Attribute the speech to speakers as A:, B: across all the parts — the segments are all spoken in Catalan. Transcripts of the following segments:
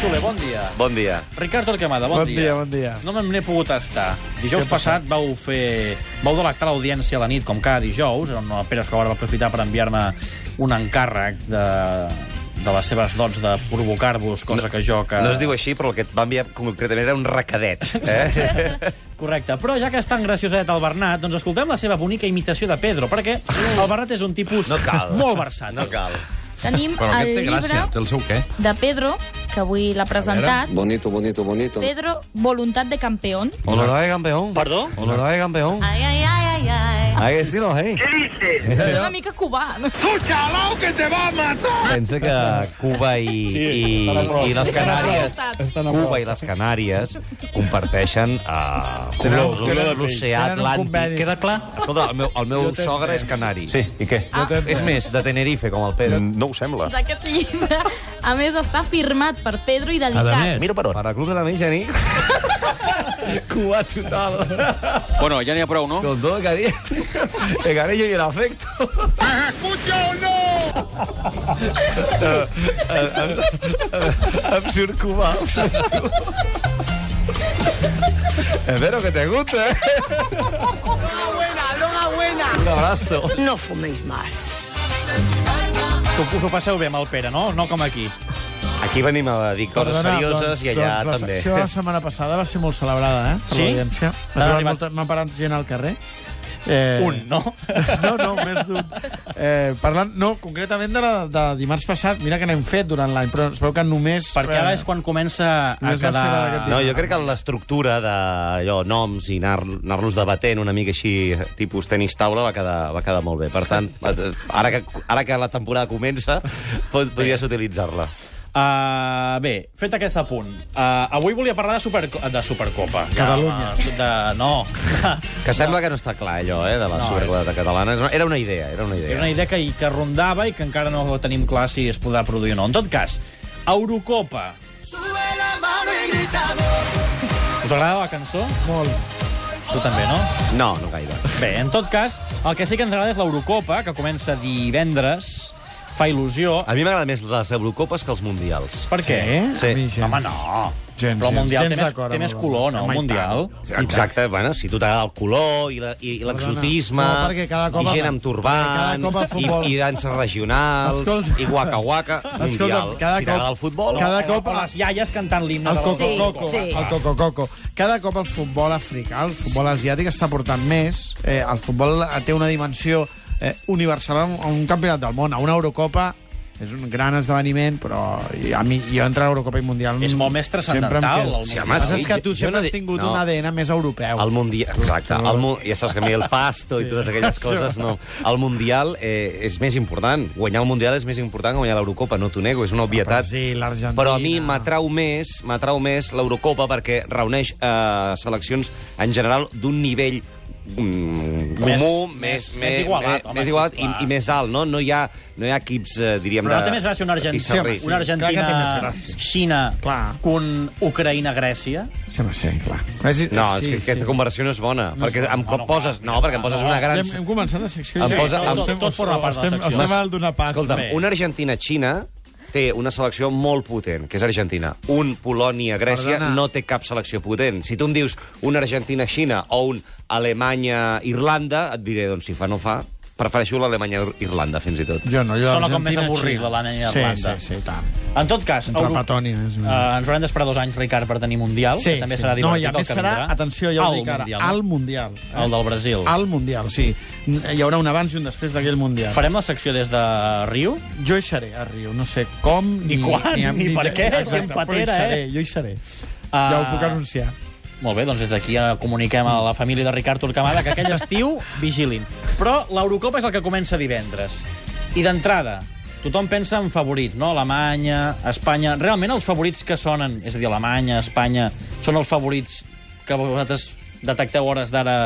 A: Soler, bon dia.
B: Bon dia.
A: Ricard Torquemada, bon,
C: Bon dia, bon dia.
A: No me n'he pogut estar. Dijous
C: Què ha
A: passat
C: passat?
A: vau fer... Vau delectar l'audiència a la nit, com cada dijous, on el Pere Escobar va aprofitar per enviar-me un encàrrec de, de les seves dots de provocar-vos, cosa que jo... Que...
B: No es diu així, però el que et va enviar concretament era un recadet. Eh?
A: Correcte, però ja que és tan gracioset el Bernat, doncs escoltem la seva bonica imitació de Pedro, perquè el Bernat és un tipus
B: No cal.
A: molt versat. eh?
B: No cal.
D: Tenim
E: Però
D: el
E: aquest té
D: llibre
E: gràcia, té el seu què?
D: de Pedro, que avui l'ha presentat.
F: Bonito, bonito, bonito.
D: Pedro, voluntat de campeón.
G: Honorable campeón.
H: ¿Perdón?
G: Honorable campeón.
D: Ai, ai, ai, ai, ai.
G: Hay Ah, que decirlo, hey.
D: Ah, És una mica cubà. no?
G: Pensa que Cuba i,
C: Sí,
G: i,
C: estan a prop.
G: i les Canàries...
D: Estan a
C: prop.
G: Cuba i les Canàries comparteixen uh,
C: Tenen un color de pell.
G: l'oceà
C: Tenen un
G: Atlàntic.
C: conveni.
G: Queda clar? Escolta, el meu, el meu
C: Jo t'entenc.
G: sogre és canari.
B: Sí, i què?
D: Ah,
G: És més, de Tenerife, com el Pedro.
E: No ho sembla.
D: doncs aquest llibre, a més, està firmat per Pedro i dedicat.
B: Miro per on.
G: Per al Club de la Mitja Nit, Cuba total.
H: Bueno, ya ni ha prou, no?
G: Con todo el cari- el cariño y el afecto. Absurd Cuba. Espero que te guste. ¿eh? Un abrazo.
I: No fuméis más.
A: Tu us ho passeu bé amb el Pere, no? No com aquí.
B: Aquí venim a dir coses
C: Perdona,
B: serioses i allà
C: doncs, La
B: també.
C: secció de la setmana passada va ser molt celebrada, eh? Per
A: Sí?
C: l'audiència.
A: T'han
C: M'ha trobat
A: arribat-
C: molta- M'ha parat gent al carrer. Eh,
A: Un, no?
C: No, no, més d'un. Eh, parlant, no, concretament de, la, de dimarts passat, mira que n'hem fet durant l'any, però es veu que només...
A: Perquè ara
C: eh,
A: és quan comença a
C: Només va ser la d'aquest
A: quedar...
C: dia.
B: No, jo crec que l'estructura de allò, noms i anar- anar-los debatent una mica així, tipus tenis taula, va quedar, va quedar molt bé. Per tant, eh, ara que, ara que la temporada comença, pod podries utilitzar-la.
A: Uh, bé, fet aquest apunt. Uh, avui volia parlar de, super, de Supercopa.
C: Catalunya.
A: De, de, no.
B: Que sembla que no està clar, allò, eh, de la
A: No,
B: no, Supercopa catalana. És una- Era una idea, era una
A: Era una
B: idea.
A: idea que, que rondava i que encara no tenim clar si es podrà produir o no. En tot cas, Eurocopa. Us agrada la cançó?
C: Molt.
A: Tu també, no?
B: No, no gaire.
A: Bé, en tot cas, el que sí que ens agrada és l'Eurocopa, que comença divendres. Fa il·lusió.
B: A mi m'agraden més les Eurocopes que els Mundials.
A: Per què?
B: Sí.
C: A eh, mi gens.
A: Home, no.
C: Gens,
A: Però el
C: gens.
A: Mundial
C: Gens
A: té més,
C: d'acord
A: té
C: amb
A: més
C: el-
A: color, no?
C: amb
A: El
C: el
A: Mundial.
B: Exacte, bueno, si tu t'agrada el color i la- i- i l'exotisme,
C: No, perquè cada cop-
B: i gent amb
C: perquè
B: turbant,
C: cada cop el futbol-
B: i, i danses regionals,
C: Escolta-
B: i guaca-guaca, mundial.
C: cada
B: si
C: cop-
B: t'agrada el futbol...
C: cada
A: O
C: cop-
A: les iaies cantant l'himne
C: El
A: de la
C: coco,
A: Eurocopa.
C: coco, el coco, coco. Cada cop el futbol africà, el futbol asiàtic està portant més. Eh, el futbol té una dimensió eh, universal a un- a un campionat del món, a una Eurocopa és un gran esdeveniment, però a mi, jo entre Eurocopa i Mundial...
A: És molt més
C: sempre em
A: transcendental,
C: quedo.
A: el
B: Sí,
C: El
B: home,
C: que passa
B: sí.
C: és que tu
B: Jo
C: sempre
B: no
C: has
B: dic-
C: tingut
B: no.
C: un ADN més europeu.
B: El Mundial, exacte. El, mu- ja saps que a mi el pasto sí. i totes aquelles coses, no. El Mundial eh, és més important. Guanyar el Mundial és més important que guanyar l'Eurocopa, no t'ho nego, és una obvietat.
C: Brasil, l'Argentina...
B: Però a mi m'atrau més m'atrau més l'Eurocopa perquè reuneix eh, seleccions en general d'un nivell mm,
A: Més-
B: comú,
A: més-
B: més,
A: més igualat, home,
B: més
A: sí,
B: igualat i,
A: clar.
B: i més alt, no? No hi ha, no hi ha equips, eh, diríem,
A: Però no
B: de...
A: té més gràcia una Argentina,
B: pissarrí, sí.
A: una Argentina
C: Clar que té més gràcia.
A: Xina,
C: Clar.
A: que un Ucraïna-Gràcia?
C: Sí, home, sí, clar. És,
B: No, és que aquesta comparació no és bona, perquè em
A: no,
B: poses... No, perquè em poses una gran...
C: Hem, hem començat la secció.
B: Em
C: ja.
B: posa- em-
C: Estem-
A: tot forma part de la
C: estem-
A: secció.
C: Estem al d'una pas.
B: Escolta'm,
A: Bé.
B: una Argentina-Xina té una selecció molt potent, que és Argentina. Un Polònia-Grècia
C: Perdona.
B: no té cap selecció potent. Si tu em dius una Argentina-Xina o un Alemanya-Irlanda, et diré, doncs, si fa no fa, prefereixo l'Alemanya-Irlanda, fins i tot.
C: Jo no, jo
A: Sona com
C: Argentina,
A: més avorrit,
C: Xina.
A: l'Alemanya i Irlanda.
C: Sí, sí, sí, tant.
A: En tot cas,
C: Entre
A: Euro-
C: Letònia, és
A: eh,
C: una-
A: ens haurem d'esperar dos anys, Ricard, per tenir Mundial, que també serà
C: no,
A: divertit
C: i a
A: el
C: més
A: que
C: serà,
A: vindrà.
C: atenció, jo ho
A: Al
C: dic ara,
A: Mundial, no?
C: al Mundial. eh?
A: El del Brasil.
C: Al Mundial, sí. N- Hi haurà un abans i un després d'aquell Mundial.
A: Farem la secció des de Riu?
C: Jo hi seré a Rio, no sé com...
A: Ni quan, ni per què,
C: Exacte,
A: si em patera,
C: però hi seré,
A: eh?
C: jo hi seré.
A: Ah.
C: Ja ho puc anunciar.
A: Molt bé, doncs des d'aquí eh, comuniquem a la família de Ricard Torquemada que aquell estiu vigilin. Però l'Eurocopa és el que comença divendres. I d'entrada, tothom pensa en favorits, no? Alemanya, Espanya... Realment els favorits que sonen, és a dir, Alemanya, Espanya, són els favorits que vosaltres detecteu a hores d'ara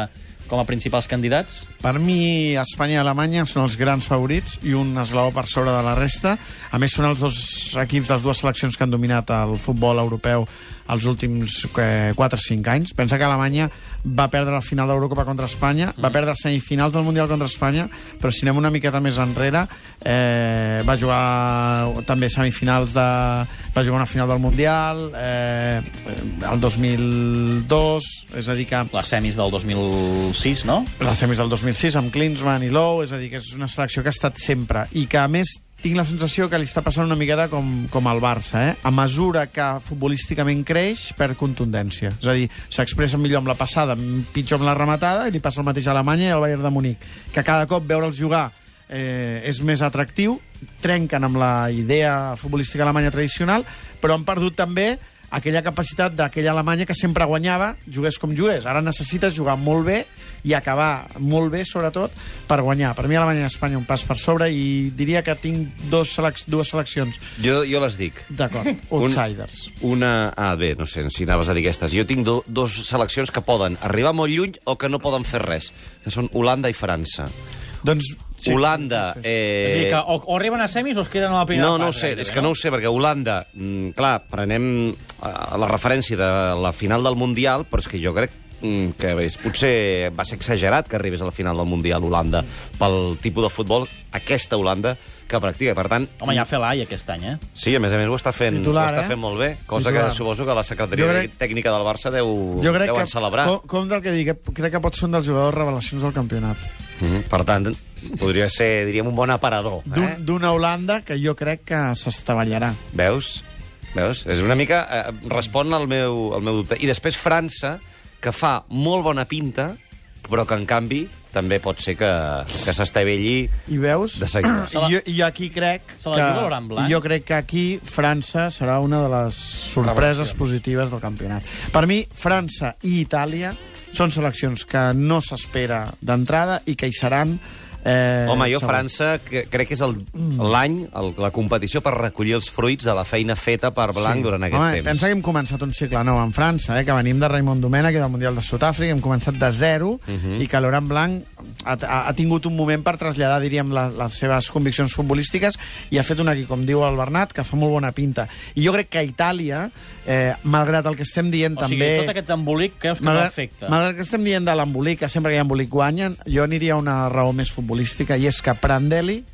A: com a principals candidats?
C: Per mi, Espanya i Alemanya són els grans favorits i un esglaó per sobre de la resta. A més, són els dos equips, les dues seleccions que han dominat el futbol europeu els últims eh, 4-5 anys. Pensa que Alemanya va perdre la final d'Eurocopa contra Espanya, va perdre semifinals del Mundial contra Espanya, però si anem una miqueta més enrere, eh, va jugar també semifinals de... va jugar una final del Mundial, eh, el 2002, és a dir que
A: Les semis del 2006, no?
C: les semis del 2006 amb Klinsmann i Lowe, és a dir, que és una selecció que ha estat sempre i que, a més, tinc la sensació que li està passant una miqueta com, com al Barça, eh? A mesura que futbolísticament creix, perd contundència. És a dir, s'expressa millor amb la passada, pitjor amb la rematada, i li passa el mateix a Alemanya i al Bayern de Munic, que cada cop veure'ls jugar eh, és més atractiu, trenquen amb la idea futbolística alemanya tradicional, però han perdut també aquella capacitat d'aquella Alemanya que sempre guanyava, jugués com jugués. Ara necessites jugar molt bé i acabar molt bé, sobretot, per guanyar. Per mi Alemanya i Espanya un pas per sobre i diria que tinc dos selec dues seleccions.
B: Jo, jo les dic.
C: D'acord, outsiders.
B: Una... Ah, bé, no sé si anaves a dir aquestes. Jo tinc do, dos seleccions que poden arribar molt lluny o que no poden fer res, que són Holanda i França.
C: Doncs...
B: Sí, Holanda... Eh...
A: És a dir, que o, o arriben a semis o es queden a la primera
B: No,
A: part,
B: no ho
C: eh,
B: sé,
A: gairebé,
B: és que no ho sé, perquè Holanda, mm, clar, prenem eh, la referència de la final del Mundial, però és que jo crec mm, que és, potser va ser exagerat que arribés a la final del Mundial Holanda pel tipus de futbol, aquesta Holanda que practica. Per tant,
A: Home, ja ha fet l'AI aquest any, eh?
B: sí, a més a més ho està fent,
C: Titular,
B: ho està
C: eh?
B: fent molt bé, cosa
C: Titular.
B: que suposo que la
C: Jo
B: secretaria
C: crec-
B: tècnica del Barça deu,
C: Jo crec
B: deuen
C: que,
B: celebrar.
C: com, com del que dic, eh, crec que pot ser un dels jugadors revelacions del campionat.
B: Mhm, Per tant, podria ser, diríem, un bon aparador.
C: D'un-
B: Eh?
C: D'una Holanda que jo crec que s'estavellarà.
B: Veus? Veus? És una mica... Eh, respon al meu, al meu dubte. I després França, que fa molt bona pinta, però que, en canvi, també pot ser que, que s'estavelli
C: I veus?
B: de seguida.
A: Se la-
C: I jo, i jo aquí crec
A: Se la
C: que,
A: juga l'hora en blanc?
C: Jo crec que aquí França serà una de les sorpreses positives del campionat. Per mi, França i Itàlia són seleccions que no s'espera d'entrada i que hi seran eh,
B: Home, jo
C: segur.
B: França que, crec que és el- l'any, el- la competició per recollir els fruits de la feina feta per Blanc durant aquest
C: Home,
B: temps.
C: Pensa que hem començat un cicle nou en França, eh, que venim de Raimon Domènech i del Mundial de Sud-àfrica, hem començat de zero,
B: Mhm.
C: i que Laurent Blanc ha, ha, ha tingut un moment per traslladar, diríem, la, les seves conviccions futbolístiques i ha fet un equip, com diu el Bernat, que fa molt bona pinta. I jo crec que a Itàlia, eh, malgrat el que estem dient
A: O sigui,
C: també...
A: tot aquest embolic creus que no afecta?
C: Malgrat que estem dient de l'embolic, que sempre que hi ha embolic guanyen, jo aniria a una raó més futbolística, i és que Prandelli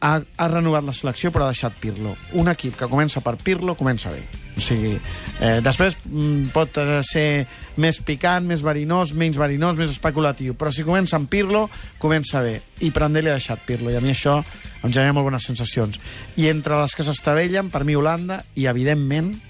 C: ha, ha renovat la selecció però ha deixat Pirlo. Un equip que comença per Pirlo comença bé. O sigui, eh, després mm, pot eh, ser més picant, més verinós, menys verinós, més especulatiu, però si comença amb Pirlo, comença bé. I Prandelli ha deixat Pirlo, i a mi això em genera molt bones sensacions. I entre les que s'estavellen, per mi Holanda, i evidentment,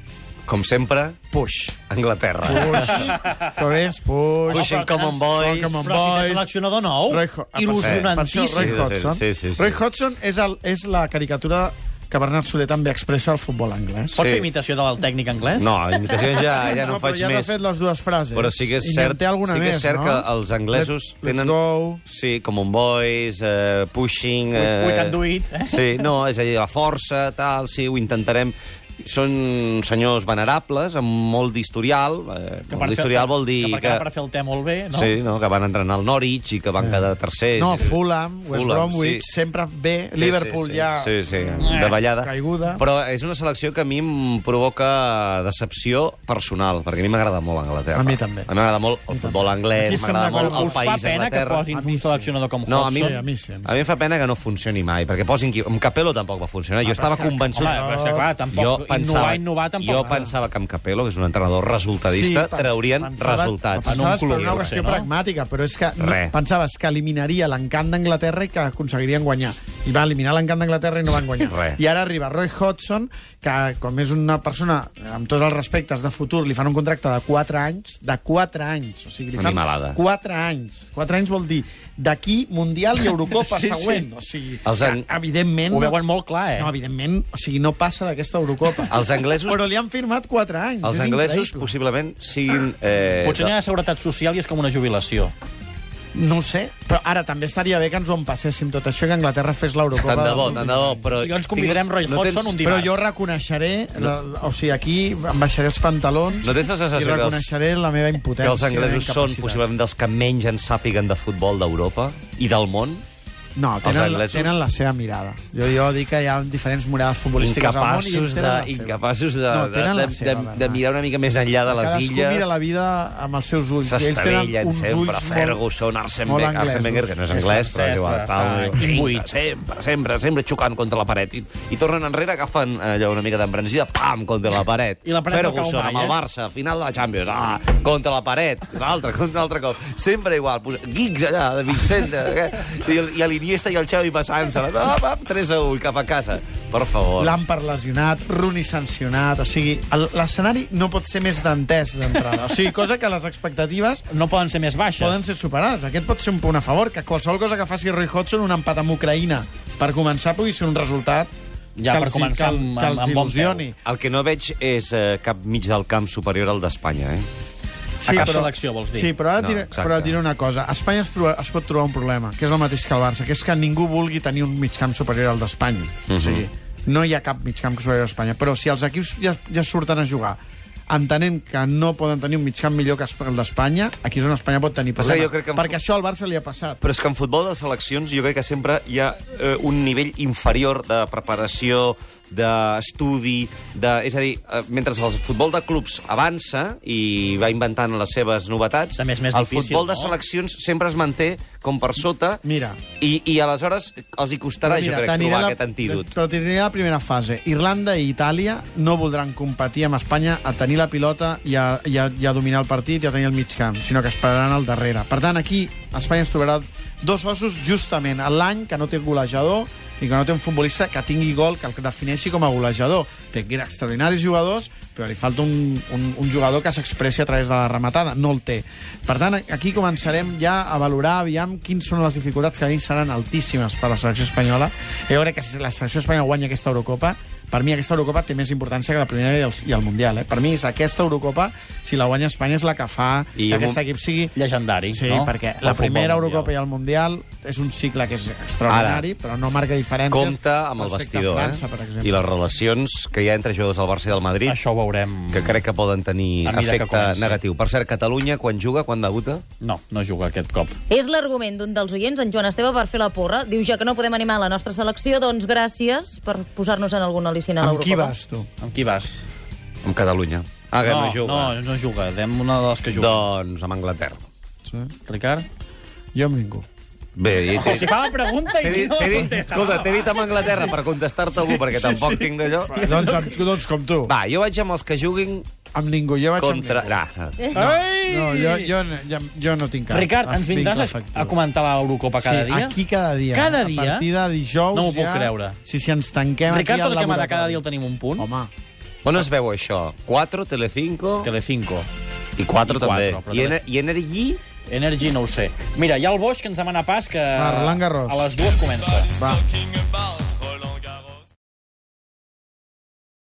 B: Com sempre,
C: Push.
B: Anglaterra.
C: Push. Com és? Push.
B: Pushing
A: Oh, però
B: Common Boys.
C: Common
A: Però si té
C: Boys.
A: seleccionador nou,
C: Roy Ho- Ah, per
A: il·lusionantíssim.
C: cert, Per això, Roy
B: Sí, sí,
C: Hodgson.
B: sí, sí, sí.
C: Roy Hodgson és, el, és la caricatura que Bernat Soler també expressa al futbol anglès.
A: Pots
B: Sí.
A: fer imitació del tècnic anglès?
B: No, imitacions ja, ja no,
C: No,
B: en
C: però
B: faig
C: ja t'ha
B: més.
C: fet les dues frases.
B: Però sí que és
C: I
B: cert,
C: en té alguna
B: sí que és
C: més,
B: cert
C: no?
B: que els anglesos
C: Let-
B: tenen...
C: Let's go.
B: Sí, com un boys, eh, pushing... Eh,
A: we can do it, eh?
B: Sí, no, és a dir, la força, tal, sí, ho intentarem. Són senyors venerables, amb molt d'historial. Eh,
A: Que per
B: molt
A: fer-
B: d'historial vol dir
A: que... per
B: que...
A: acabar Per fer el té molt bé, no?
B: Sí, no, que van entrenar al Norwich i que van quedar tercers.
C: Eh. No,
B: Sí.
C: Fulham, West
B: Fulham,
C: Bromwich,
B: sí.
C: sempre bé.
B: Sí,
C: Liverpool
B: sí, sí.
C: ja...
B: Sí,
C: eh,
B: sí, de ballada.
C: Caiguda.
B: Però és una selecció que a mi em provoca decepció personal, perquè a mi m'agrada molt Anglaterra.
C: A mi també.
B: A mi m'agrada molt el futbol
C: Aquí
B: anglès,
C: estem
B: m'agrada
C: d'acord.
B: molt el
A: Us
B: país
A: fa pena que
B: Anglaterra.
A: posin
C: A mi
A: un
C: sí.
A: seleccionador com
B: No, a mi,
A: Hodgson?
C: Sí, a mi sí, a mi sí.
B: a mi em fa pena que no funcioni mai, perquè posin... qui- Amb Capello tampoc va funcionar.
C: Ah,
B: Jo estava convençut...
A: Home, però és que clar, tampoc
B: jo
A: innovar,
B: pensava,
A: innovar tampoc.
B: jo pensava que amb Capello, que és un entrenador resultadista,
C: pens-
B: traurien
C: pensava-
B: resultats.
A: en un
C: Pensaves per
A: club,
C: una
A: potser,
C: qüestió
A: no?
C: pragmàtica, però és que no,
B: Re.
C: pensaves que eliminaria l'encant d'Anglaterra i que aconseguirien guanyar. I va eliminar l'encant d'Anglaterra i no van guanyar.
B: Re.
C: I ara arriba Roy Hodgson, que com és una persona amb tots els respectes de futur, li fan un contracte de 4 anys, de 4 anys, o sigui, li fan
B: Animalada.
C: 4 anys. 4 anys vol dir d'aquí Mundial i Eurocopa
A: Sí, sí.
C: següent, o sigui,
B: Els
C: que,
B: en-
C: evidentment
A: Ho veuen molt clar, eh?
C: no, evidentment, o sigui, no passa d'aquesta Eurocopa.
B: Els anglesos-
C: Però li han firmat 4 anys.
B: Els
C: és
B: anglesos
C: increïble.
B: possiblement siguin... Eh,
A: Potser n'hi ha seguretat social i és com una jubilació.
C: No ho sé, però ara també estaria bé que ens ho empasséssim tot això i que Anglaterra fes l'Eurocopa.
B: Tant de bo,
C: del
B: tant de bo, però...
A: I llavors convidarem Roy
B: no tens-
A: Hodgson un
C: Però
A: dimarts.
C: jo reconeixeré, la, o sigui, aquí em baixaré els pantalons
B: No tens la
C: i
B: sensació que els-
C: reconeixeré la meva
B: que
C: impotència.
B: els anglesos
C: la meva
B: són
C: incapacitat.
B: possiblement dels que menys en sàpiguen de futbol d'Europa i del món?
C: No, tenen,
B: anglesos?
C: tenen la seva mirada. Jo, jo dic que hi ha diferents mirades futbolístiques al món i ells
B: Incapaços de,
C: tenen la seva.
B: incapaços de,
C: No,
B: de,
C: tenen la
B: de,
C: seva,
B: de,
C: Bernat.
B: de mirar una mica més enllà de les
C: Cadascú
B: illes.
C: mira la vida amb els seus ulls. i ells tenen
B: S'estrellen
C: uns ulls
B: sempre,
C: molt-
B: Ferguson, Arsene
C: molt
B: Wenger, Arsene
C: anglesos.
B: Wenger, que no és anglès, però és igual, està
A: està imbuït.
B: Vinga, sempre, sempre, sempre xocant contra la paret. I, i tornen enrere, agafen allò una mica d'embranzida, pam, contra la paret.
A: I la paret no cau
B: Ferguson,
A: mai,
B: amb el
A: eh?
B: Barça, final de la Champions, ah, contra la paret, l'altre, contra l'altre cop. Sempre igual, posa- guics allà, de Vicente, eh? i, el- i l'Iniesta i el Xavi passant-se, va, va, 3 a 1, cap a casa. Per favor.
C: Lampard lesionat, Rooney sancionat, o sigui, el- l'escenari no pot ser més d'entès d'entrada. O sigui, cosa que les expectatives
A: No poden ser més baixes.
C: poden ser superades. Aquest pot ser un punt a favor, que qualsevol cosa que faci Roy Hodgson, un empat amb Ucraïna, per començar pugui ser un resultat
A: Ja,
C: que
A: per
C: els,
A: començar
C: que,
A: amb-
C: que
A: amb-
C: els
A: amb bon peu.
C: il·lusioni.
B: El que no veig és eh, cap mig del camp superior al d'Espanya, eh?
A: A cap selecció, vols dir?
C: Sí, però
B: No,
C: ara, no, diré,
B: exacte.
C: però ara diré una cosa. A Espanya es, troba, es pot trobar un problema, que és el mateix que el Barça, que és que ningú vulgui tenir un migcamp superior al d'Espanya.
B: Mhm.
C: O sigui, no hi ha cap migcamp superior a Espanya. Però si els equips ja, ja surten a jugar entenent que no poden tenir un migcamp millor que el d'Espanya, aquí és on Espanya pot tenir
B: Passa que
C: problema.
B: jo crec que en
C: Perquè això al Barça li ha passat.
B: Però és que en futbol de seleccions jo crec que sempre hi ha eh, un nivell inferior de preparació, d'estudi... De... És a dir, eh, mentre el futbol de clubs avança i va inventant les seves novetats,
A: També és més
B: el
A: difícil,
B: futbol de
A: no?
B: seleccions sempre es manté com per sota
C: Mira.
B: i, i aleshores els hi costarà,
C: Però mira,
B: jo crec,
C: t'aniré
B: trobar
C: la-
B: aquest antídot.
C: Però t'aniré a la primera fase. Irlanda i Itàlia no voldran competir amb Espanya a tenir la pilota i a, i a, i a dominar el partit i a tenir el mig camp, sinó que esperaran al darrere. Per tant, aquí Espanya es trobarà dos ossos justament a l'any que no té golejador i que no té un futbolista que tingui gol, que el defineixi com a golejador. Té extraordinaris jugadors, però li falta un, un, un jugador que s'expressi a través de la rematada. No el té. Per tant, aquí començarem ja a valorar, aviam, quins són les dificultats que a mi seran altíssimes per a la selecció espanyola. Jo crec que si la selecció espanyola guanya aquesta Eurocopa, per mi aquesta Eurocopa té més importància que la primera i el, i el Mundial. Eh? Per mi és aquesta Eurocopa, si la guanya Espanya, és la que fa
B: I un-
C: que aquest equip sigui...
A: Llegendari,
C: Sí,
A: no?
C: perquè
A: Pel
C: la
A: futbol
C: primera
A: mundial.
C: Eurocopa i el Mundial és un cicle que és extraordinari, Ara, però no marca diferències.
B: Compte amb el
C: respecte a
B: vestidor,
C: França, per
B: eh?
C: exemple.
B: I les relacions que hi ha entre jugadors del Barça i del Madrid.
A: Això ho veurem...
B: que crec que poden tenir
A: A mesura que
B: efecte
A: comenci.
B: negatiu. Per cert, Catalunya, quan juga, quan debuta?
A: No, no juga aquest cop.
E: És l'argument d'un dels oients, en Joan Esteve, per fer la porra. Diu, ja que no podem animar la nostra selecció, doncs gràcies per posar-nos en algun al·licina a
C: Amb
E: l'Eurocopa.
C: qui vas, tu?
A: Amb qui vas?
B: Amb Catalunya. Ah, que no, juga.
A: No, no juga. Dem una de les que juga.
B: Doncs amb Anglaterra.
C: Sí.
A: Ricard?
C: Jo amb ningú.
B: Bé, i t'he
A: Si fa la pregunta
B: t'he dit, t'he dit, escolta, t'he dit amb Anglaterra per contestar-te algú, perquè tampoc tinc d'allò.
C: doncs, amb, doncs com tu.
B: Va, jo vaig amb els que juguin
C: Amb ningú, jo vaig
B: contra...
C: amb ningú.
B: Ah,
C: No, jo, jo, jo, jo no tinc cap.
A: Ricard, ens
C: Estic
A: vindràs a,
C: defectiu.
A: a comentar l'Eurocopa cada
C: sí,
A: dia?
C: aquí cada dia.
A: Cada
C: A
A: dia?
C: partir de dijous
A: No m'ho puc
C: ja...
A: creure.
C: Sí, sí, ens tanquem
A: Ricard,
C: aquí al
A: pel que m'ha de
C: laboratori.
A: cada dia el tenim un punt.
C: Home,
B: On es veu això? 4, Telecinco...
A: Telecinco.
B: I 4
A: I
B: també.
A: quatre, però
B: I, en,
A: també-
B: I Energy?
A: Energy no ho sé. Mira, hi ha el Boix que ens demana pas que...
C: Va, Roland Garros.
A: A les dues comença.
C: va.